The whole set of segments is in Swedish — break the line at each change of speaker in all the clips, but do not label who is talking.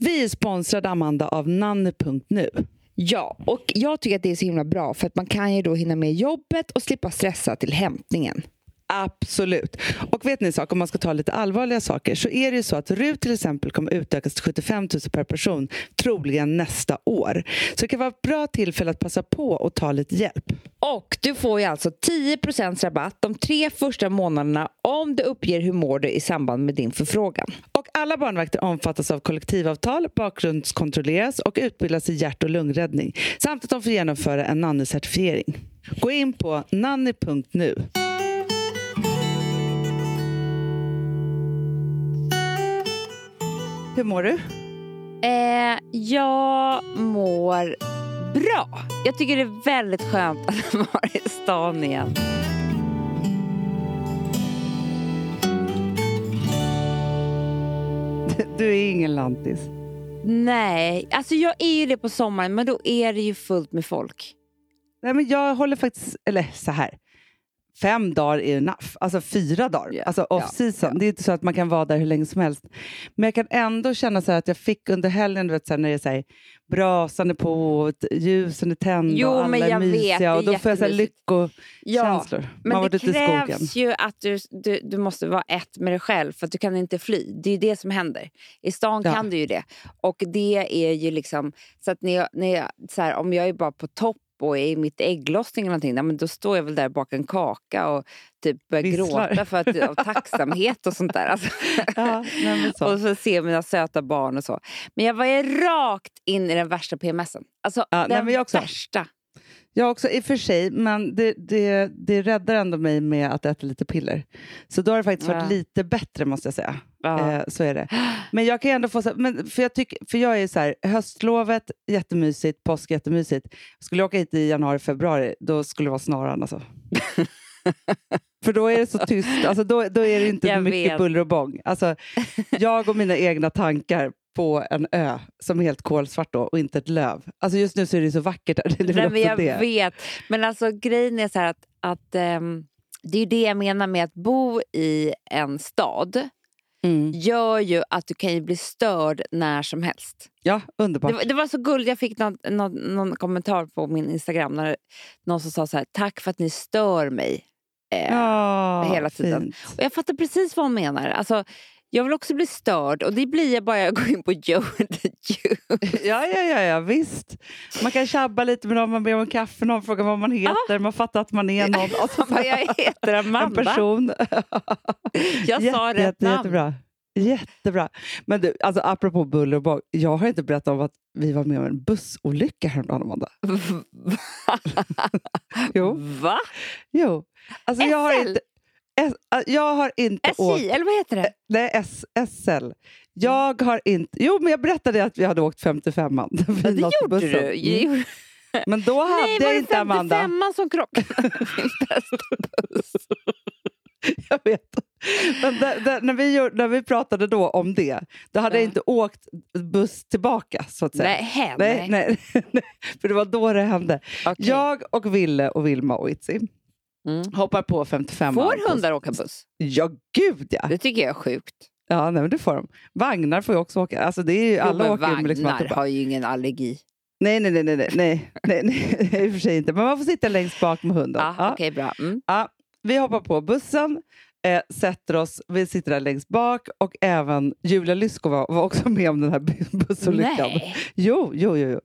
Vi är sponsrade, Amanda, av nanny.nu.
Ja, och jag tycker att det är så himla bra för att man kan ju då hinna med jobbet och slippa stressa till hämtningen.
Absolut. Och vet ni en sak, om man ska ta lite allvarliga saker så är det ju så att RUT till exempel kommer utökas till 75 000 per person troligen nästa år. Så det kan vara ett bra tillfälle att passa på och ta lite hjälp.
Och du får ju alltså 10 rabatt de tre första månaderna om du uppger hur mår du i samband med din förfrågan.
Och alla barnvakter omfattas av kollektivavtal, bakgrundskontrolleras och utbildas i hjärt och lungräddning samt att de får genomföra en nanny-certifiering. Gå in på nanny.nu. Hur mår du?
Eh, jag mår bra. Jag tycker det är väldigt skönt att vara i stan igen.
Du är ingen lantis.
Nej, alltså jag är ju det på sommaren men då är det ju fullt med folk.
Nej, men jag håller faktiskt... Eller så här. Fem dagar är enough. Alltså fyra dagar.
Ja,
Alltså
ja,
off season. Det är inte så att man kan vara där hur länge som helst. Men jag kan ändå känna så här att jag fick under helgen, du vet, så här, när det är så här, brasan är på, och t- ljusen är tända
Jo,
och alla
men jag
är
vet,
mysiga.
det är
och då får jag så här
jättemysigt.
lyckokänslor.
Men
man har
det
varit ute i skogen.
krävs ju att du, du, du måste vara ett med dig själv för att du kan inte fly. Det är ju det som händer. I stan
Ja.
kan du ju det. Och det är ju liksom... Så att när jag, när jag, så här, om jag är bara på topp och är i mitt ägglossning eller någonting, nej, men då står jag väl där och bakar en kaka och typ börjar
Visslar.
gråta för att, av tacksamhet och sånt där. Alltså.
Ja, nej, men så.
Och så ser mina söta barn och så. Men jag var ju rakt in i den värsta PMSen. Alltså
Ja,
den
nej, men jag också.
värsta.
Jag också, i och för sig, men det, det, det räddar ändå mig med att äta lite piller. Så då har det faktiskt varit
Ja.
lite bättre måste jag säga.
Ja.
Eh, så är det. Men jag kan ju ändå få... Så, men för, jag tycker, för jag är så här, höstlovet, jättemysigt, påsk, jättemysigt. Skulle jag åka hit i januari, februari, då skulle det vara snaran alltså. för då är det så tyst, alltså, då, då är det inte
Jag
mycket
vet.
buller och bång. Alltså, jag och mina egna tankar på en ö som är helt kolsvart då och inte ett löv. Alltså just nu så är det så vackert där. Det är väl
Nej, men
också
jag
det.
vet. Men alltså grejen är så här att, att ehm, det är ju det jag menar med att bo i en stad
Mm.
gör ju att du kan ju bli störd när som helst.
Ja, underbart.
Det, var- det var så gulligt, jag fick någon, någon, någon kommentar på min Instagram när någon som sa så här, tack för att ni stör mig. Eh,
ja,
hela tiden.
fint.
Och jag fattar precis vad hon menar. Alltså, jag vill också bli störd och det blir jag bara jag går in på Joe and the Juice.
Ja, ja, ja, ja, visst. Man kan tjabba lite med någon, man ber om kaffe, någon frågar vad man heter, man fattar att man är någon. Alltså,
Vad Jag heter
en
Amanda.
person.
Jag sa rätt
jätte,
namn.
jättebra. jättebra. Men du, alltså, apropå buller och bång, jag har inte berättat om att vi var med om en bussolycka häromdagen, Amanda. Jo.
Va?
jo. Alltså, jag har
SL?
inte, S, jag har inte åkt
SJ, eller vad heter det?
Nej, S,
Mm.
SL. Jag har inte... Jo, men jag berättade att vi hade åkt 55an.
Ja, det gjorde du.
Mm.
Gjorde-
Men då hade
Nej, var
jag
det
inte Amanda.
55 som krockade? Min bästa buss.
Jag vet. Men där, där, när, vi, gjorde- när vi pratade då om det, då hade
Ja.
jag inte åkt buss tillbaka, så att säga.
Nej,
nej, nej. nej. För det var då det hände.
Okej.
Jag och Ville och Vilma och Itzi
Mm.
hoppar på 55an.
Får hundar åka buss?
Ja, gud ja!
Det tycker jag är sjukt.
ja nej, men det får de. Vagnar får ju också åka. Alltså, det är ju, alla
jo, men
åker ju med liksom att
vagnar
det bara-
har ju ingen allergi.
Nej, nej, nej, nej, nej, nej, nej, nej, i och för sig inte. Men man får sitta längst bak med hunden.
Ah,
Ja.
Okej, bra. Mm.
Ja. Vi hoppar på bussen, eh, sätter oss, vi sitter där längst bak och även Julia Lyskova var, var också med om den här bu- bussolyckan.
Nej.
Jo, jo, jo. jo.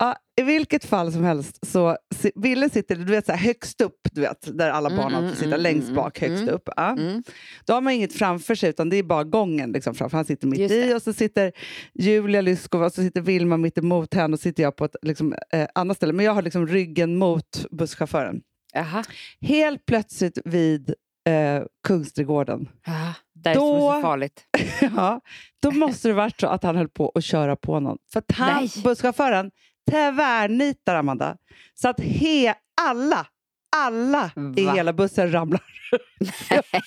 Ja, I vilket fall som helst så si- Ville sitter du vet, så här, högst upp, du vet, där alla
Mm,
barn
mm,
alltid sitter,
mm,
längst
mm,
bak, högst
mm,
upp. Ja.
Mm.
Då har man inget framför sig, utan det är bara gången liksom, framför. Han sitter mitt
Just
i
det.
och så sitter Julia Lyskova och så sitter Vilma mitt emot henne och så sitter jag på ett liksom, eh, annat ställe. Men jag har liksom ryggen mot busschauffören.
Jaha.
Helt plötsligt vid eh, Kungsträdgården,
Ah, där är det som är
Då-
så farligt.
ja, då måste det varit så att han höll på att köra på någon. För att han,
Nej.
busschauffören tvärnitar, Amanda. Så att he, alla, alla i
Va?
hela bussen ramlar.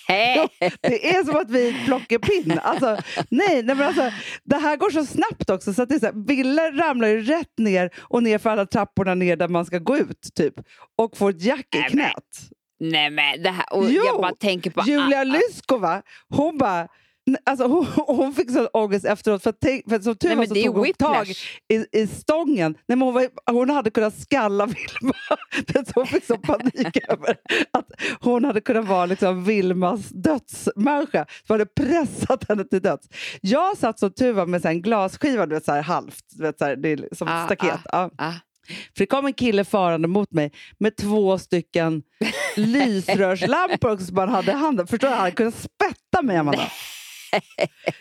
Hej.
Det är som att vi är ett plockepinn. Alltså, nej, nej, men alltså, det här går så snabbt också. Så att det är så här, Ville ramlar ju rätt ner och ner för alla trapporna ner där man ska gå ut typ, och får ett jack i
Nej, men-
knät.
Nej men det här, och
Jo,
jag Typ bara ah, tänker på...
Julia Lyskova, hon bara Nej, Alltså, hon, hon fick sån ångest efteråt, för, att tänk, för att som tur
Nej,
var
men
så
det är
tog hon tag
whiplash.
i, i stången. Nej, men hon, var, hon hade kunnat skalla Vilma. Men så Hon fick sån panik över att hon hade kunnat vara liksom Vilmas dödsmänniska som hade pressat henne till döds. Jag satt som tur var med så här en glasskiva, du vet, så här, halvt, du vet, så här, det är som ett
Ah,
staket. Ja.
Ah.
För det kom en kille farande mot mig med två stycken lysrörslampor också som han hade i handen. Förstår du? Han hade kunnat spetta mig, Amanda.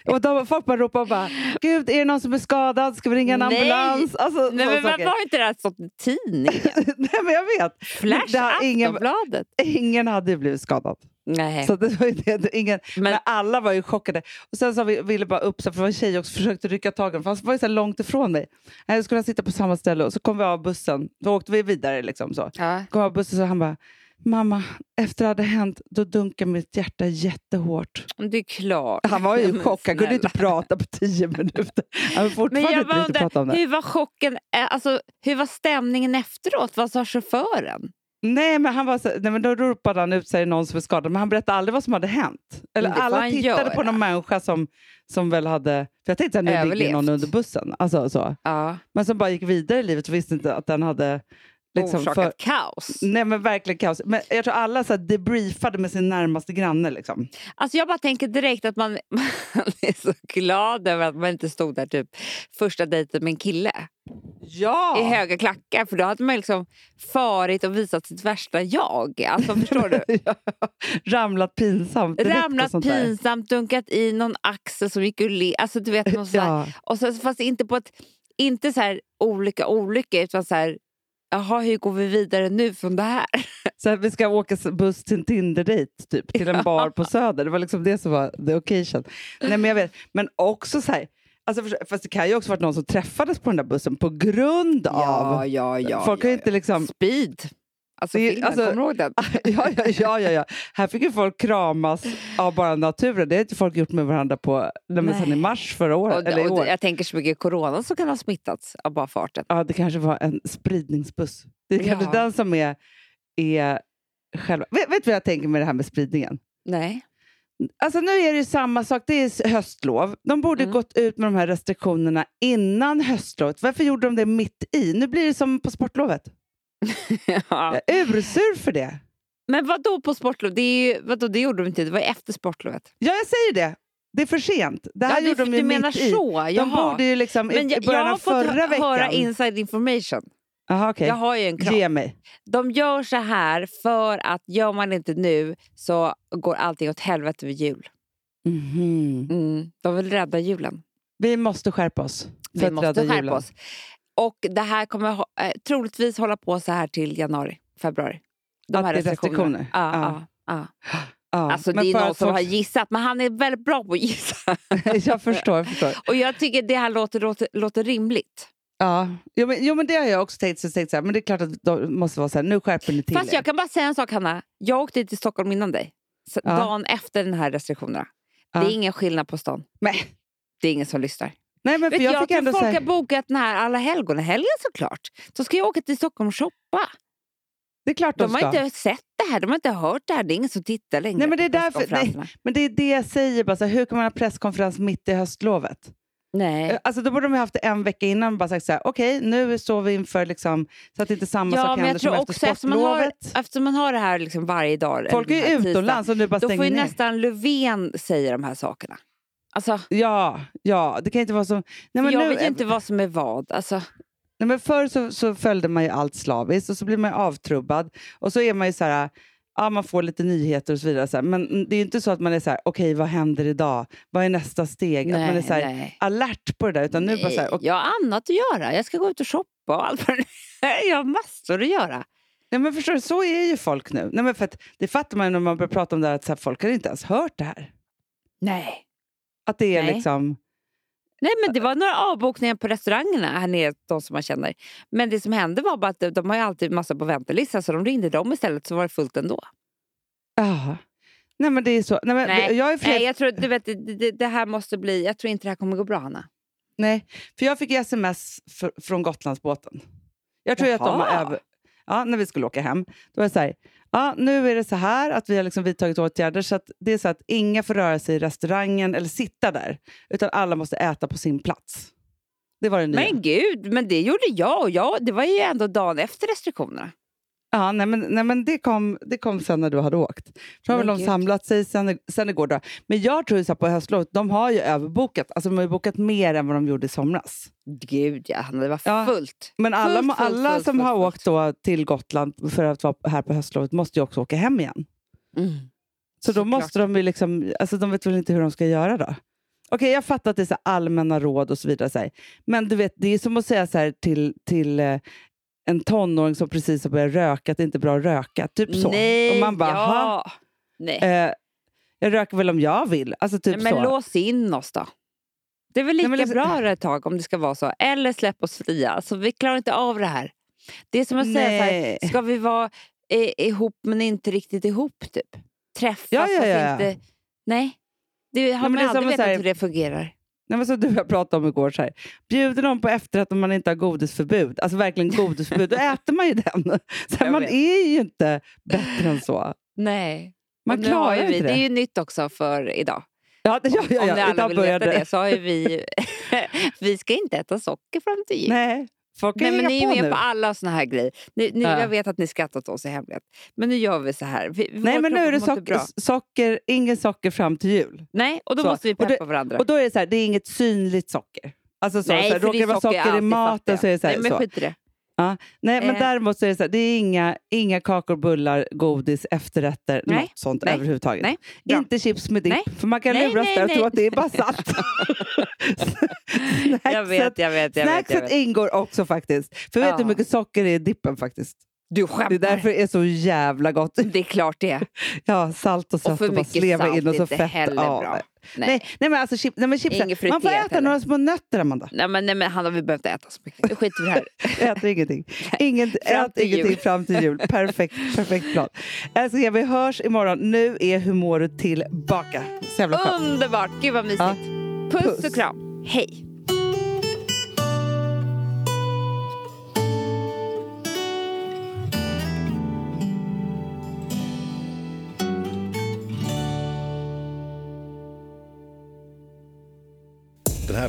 Och de, folk bara ropade bara, Gud, är det någon som är skadad? Ska vi ringa en
Nej.
ambulans? Alltså,
Nej,
sådana
men varför
saker.
har inte det här stått i tidningen?
Nej, men jag vet.
Flash,
det har ingen-
Aftonbladet?
Ingen hade ju blivit skadad.
Nej.
Så det var ju det, det- ingen, men,
Men-
alla var ju chockade. Och sen så vi, ville bara upp, så här, för det var en tjej också, försökte rycka tag i mig, för han var ju så här långt ifrån mig. Nej, Jag skulle sitta på samma ställe och så kom vi av bussen. Då åkte vi vidare. Liksom, så.
Ja.
Kom av bussen så han bara, mamma, efter det hade hänt, då dunkade mitt hjärta jättehårt.
Men Det är klart.
Han var ju i
Men
chock, han kunde
snälla.
inte prata på tio minuter. Han hade
Men
fortfarande
jag
inte
bara
riktigt pratat om
undrar,
det.
hur var chocken, eh, alltså, hur var stämningen efteråt? Vad sa chauffören?
Nej, men, han var så, nej, men då ropade han ut sig någon som är skadad, men han berättade aldrig vad som hade hänt. Eller
Men det får
alla
han
tittade på
göra.
någon människa som, som väl hade... För jag tänkte att nu ligger det
Överlevt.
någon under bussen. Alltså, så.
Ja.
Men som bara gick vidare i livet och visste inte att den hade... Liksom,
Orsakat
för, Mm.
kaos.
nej, men verkligen kaos. Men jag tror alla så här, debriefade med sin närmaste granne. Liksom.
Alltså jag bara tänker direkt att man, man är så glad över att man inte stod där typ första dejten med en kille
Ja!
i höga klackar för då hade man liksom farit och visat sitt värsta jag. Alltså förstår du?
Ramlat pinsamt direkt och
Ramlat
sånt där.
pinsamt, dunkat i någon axel som gick ur le. Alltså du vet någon sån här.
Ja.
Och sen, fast inte på ett, inte så här olika olyckor utan så här Jaha, hur går vi vidare nu från det här?
Så här, vi ska åka s- buss till en Tinder-dejt, typ, till en bar på Söder. Det var liksom det som var the occasion. Nej, men, jag vet. men också så här, alltså, förs- fast det kan ju också varit någon som träffades på den där bussen på grund av...
ja,
folk har ju inte liksom...
Speed. Alltså
Det är-
filmen,
alltså-
kommer du ihåg den?
Ja, ja, ja, ja, ja. Här fick ju folk kramas av bara naturen. Det har inte folk gjort med varandra på, nej, men
Nej.
sen i mars förra året.
Och,
eller i
och,
år.
Jag tänker så mycket corona som kan ha smittats av bara farten.
Ja, det kanske var en spridningsbuss. Det är kanske
Ja.
den som är, är själva... Vet, vet du vad jag tänker med det här med spridningen?
Nej.
Alltså nu är det ju samma sak, det är s- höstlov. De borde
Mm.
gått ut med de här restriktionerna innan höstlovet. Varför gjorde de det mitt i? Nu blir det som på sportlovet.
Ja.
Jag är ursur för det.
Men vad då på sportlov? Det, är ju, vadå, det gjorde de inte, det var efter sportlovet.
Ja, jag säger det. Det är för sent. Det här
ja,
gjorde
du,
de ju
du menar
mitt i.
så?
De
Jaha.
borde ju liksom i,
Men
i
jag, jag
början
har
av
fått
förra
hö-
veckan...
höra inside information.
Aha, okej.
Jag har ju en kram.
Ge mig.
De gör så här för att gör man inte nu så går allting åt helvete vid jul.
Mhm.
Mm. De vill rädda julen.
Vi måste skärpa oss. för
Vi
att
måste
rädda
skärpa
julen.
oss. Och det här kommer ho- eh, troligtvis hålla på så här till januari, februari. De
Att
här
det är restriktioner.
Ja,
Ja.
ja. ja.
Ja,
Alltså,
men
det är
för
någon
att
som
folk-
har gissat, men han är väldigt bra på att gissa.
jag förstår, jag förstår.
Och jag tycker det här låter, låter, låter rimligt.
Ja, jo men, jo, men det har jag också tänkt. Så tänkt så här, men det är klart att de måste vara så här, nu skärper ni till
Fast
er.
jag kan bara säga en sak, Hanna. Jag åkte till Stockholm innan dig. Så
Ja.
Dagen efter den här restriktionerna.
Ja.
Det är ingen skillnad på stan.
Men,
Det är ingen som lyssnar.
nej, men för
Vet, du,
jag,
jag
fick
tror
ändå
folk
så här,
har bokat den här alla helgon helgen såklart. Då ska jag åka till Stockholm och shoppa.
det är klart de,
De har
ska.
inte sett det här, de har inte hört det här. Det är ingen som tittar längre.
Nej, men det är
på
därför- nej.
presskonferenserna.
Men det är det jag säger, bara så här, hur kan man ha presskonferens mitt i höstlovet?
nej.
Eh, Alltså, då borde de ha haft det en vecka innan och bara sagt så här, okej, nu står vi inför liksom, så att inte samma
Ja,
sak
men
händer
jag
som
tror
efter
också eftersom man har,
sportlovet.
eftersom man har det här liksom varje dag. eller
Folk
den
är
här
ju
tisdagen,
utomlands och nu bara
Då
stänger
får ju
ner.
nästan Löfven säga de här sakerna. Alltså,
Ja, ja, det kan inte vara så. Nej, men
jag
nu,
vet ju inte vad som är vad. Alltså,
Nej, men förr så, så följde man ju allt slaviskt och så blir man ju avtrubbad. Och så är man ju så här, ja man får lite nyheter och så vidare. Så här, men mm, det är ju inte så att man är så här, okej vad händer idag? Vad är nästa steg? att man är så här,
nej.
alert på det där. Utan nu bara så här,
Nej,
och,
Jag har annat att göra. Jag ska gå ut och shoppa och allt vad det är. Jag har massor att göra.
nej, men förstår du, så är ju folk nu. Nej, men för att, det fattar man ju när man börjar prata om det här, att så här, folk har inte ens hört det här.
Nej.
Att det är
Nej.
liksom,
Nej, men det var några avbokningar på restaurangerna här nere, de som man känner. Men det som hände var bara att de- de har ju alltid massa på väntelistan så de ringde dem istället så var det fullt ändå.
ja. Nej men det är så. Nej, men,
Nej,
Jag är fler,
Nej, jag tror, du vet, det, det, det här måste bli... Jag tror inte det här kommer gå bra, Hanna.
Nej, för jag fick ju sms fr- från Gotlandsbåten. Jag tror ju att de har
Jaha.
över... Ja, när vi skulle åka hem. Då var det så här, Ja, nu är det så här att vi har liksom vidtagit åtgärder så att det är så att inga får röra sig i restaurangen eller sitta där, utan alla måste äta på sin plats. Det var det nya.
Men gud, men det gjorde jag och jag, det var ju ändå dagen efter restriktionerna.
Ja, nej, men, nej, men det, kom, det kom sen när du hade åkt. Så har väl
Men
de
gud.
samlat sig sen, sen igår. Då. Men jag tror ju så här på höstlovet, de har ju överbokat. Alltså de har ju bokat mer än vad de gjorde i somras.
Gud ja, Hanna, det var
Ja.
fullt.
Men alla,
Fullt, fullt,
alla
fullt,
som
fullt,
har
fullt.
åkt då till Gotland för att vara här på höstlovet måste ju också åka hem igen. Mm. Så då
Såklart.
måste de ju liksom, alltså de vet väl inte hur de ska göra då? Okej, jag fattar att det är så här allmänna råd och så vidare. Så här. Men du vet, det är som att säga så här till, till eh, en tonåring som precis har börjat röka att det inte är bra att röka. Typ så.
Nej,
och man bara, "Ha,
ja. Nej.
eh, jag röker väl om jag vill. Alltså typ
Nej, men
så.
lås in oss då. Det är
Nej,
väl lika
men liksom-
bra ett tag om det ska vara så. Eller släpp oss fria. Alltså, vi klarar inte av det här. Det är som att säga så
Nej.
här, ska vi vara eh, ihop men inte riktigt ihop typ? Träffas
Ja, ja, ja,
fast
ja.
inte... Nej. Du
men
har
det
man
är
aldrig
som att
vetat
så här-
hur det fungerar.
Nej, men som du och jag pratade om igår, så här. bjuder någon på efterrätt om man inte har godisförbud, alltså verkligen godisförbud, då äter man ju den. Så här,
Jag
man
vet.
är ju inte bättre än så.
Nej. Och
Man
nu har
klarar
ju
ju
vi,
inte
Det är
det.
ju nytt också för idag.
Ja, det- ja, ja,
om
ja.
ni alla
Idag
vill veta
började
det
det.
så har ju vi... vi ska inte äta socker fram till jul.
Nej, folk kan
Nej, men
hänga
ni är
på
ju med
nu.
på alla såna här grejer. Ni, ni,
Ja.
Jag vet att ni skrattar åt oss i hemlighet. Men nu gör vi så här. Vi,
Nej,
vår
men nu
kropp
är det
mår inte
socker, socker, ingen socker fram till jul.
Nej, och då
Så.
måste vi
Och det-
peppa varandra.
Och då är det så här, det är inget synligt socker. Alltså så,
Nej,
så här,
för
råkar det vara
är
socker i
alltid
maten
fattiga.
så är det så här.
Nej, men
så.
skit i det.
Nej, men
Eh.
däremot så är det så här, det är inga, inga kakor, bullar, godis, efterrätter,
Nej,
något sånt
nej,
överhuvudtaget.
nej, bra.
Inte chips med dipp,
Nej,
för man kan
nej,
luras
nej,
där och
nej.
tro att det är bara saft.
Jag vet, jag vet, jag vet. Jag
Snackset
vet.
ingår också faktiskt. För vet du hur
Ja.
mycket socker det är i dippen faktiskt?
Du
Det är
skämtar. Det
därför
är,
det är så jävla gott.
klart det är.
Ja, salt och sött
Och för
bara
mycket
sleva
salt
in och så
är inte
fett.
heller
ja,
bra.
nej.
Nej.
Nej, nej, men alltså chip, nej, men chipsen.
Inget
Man får
friterat
äta
heller.
några små nötter, Amanda.
Nej, men, nej, men Hanna, vi behöver inte äta så mycket. Nu skiter vi i det här.
Äter ingenting. Inget,
Fram
ät
till
ingenting
jul.
fram till jul. Perfekt, perfekt plan. Älsklingar, vi hörs imorgon. Nu är humoret tillbaka. Så jävla skönt.
Underbart! Gud vad mysigt.
Ja.
Puss,
Puss.
och kram. Hej!
Den här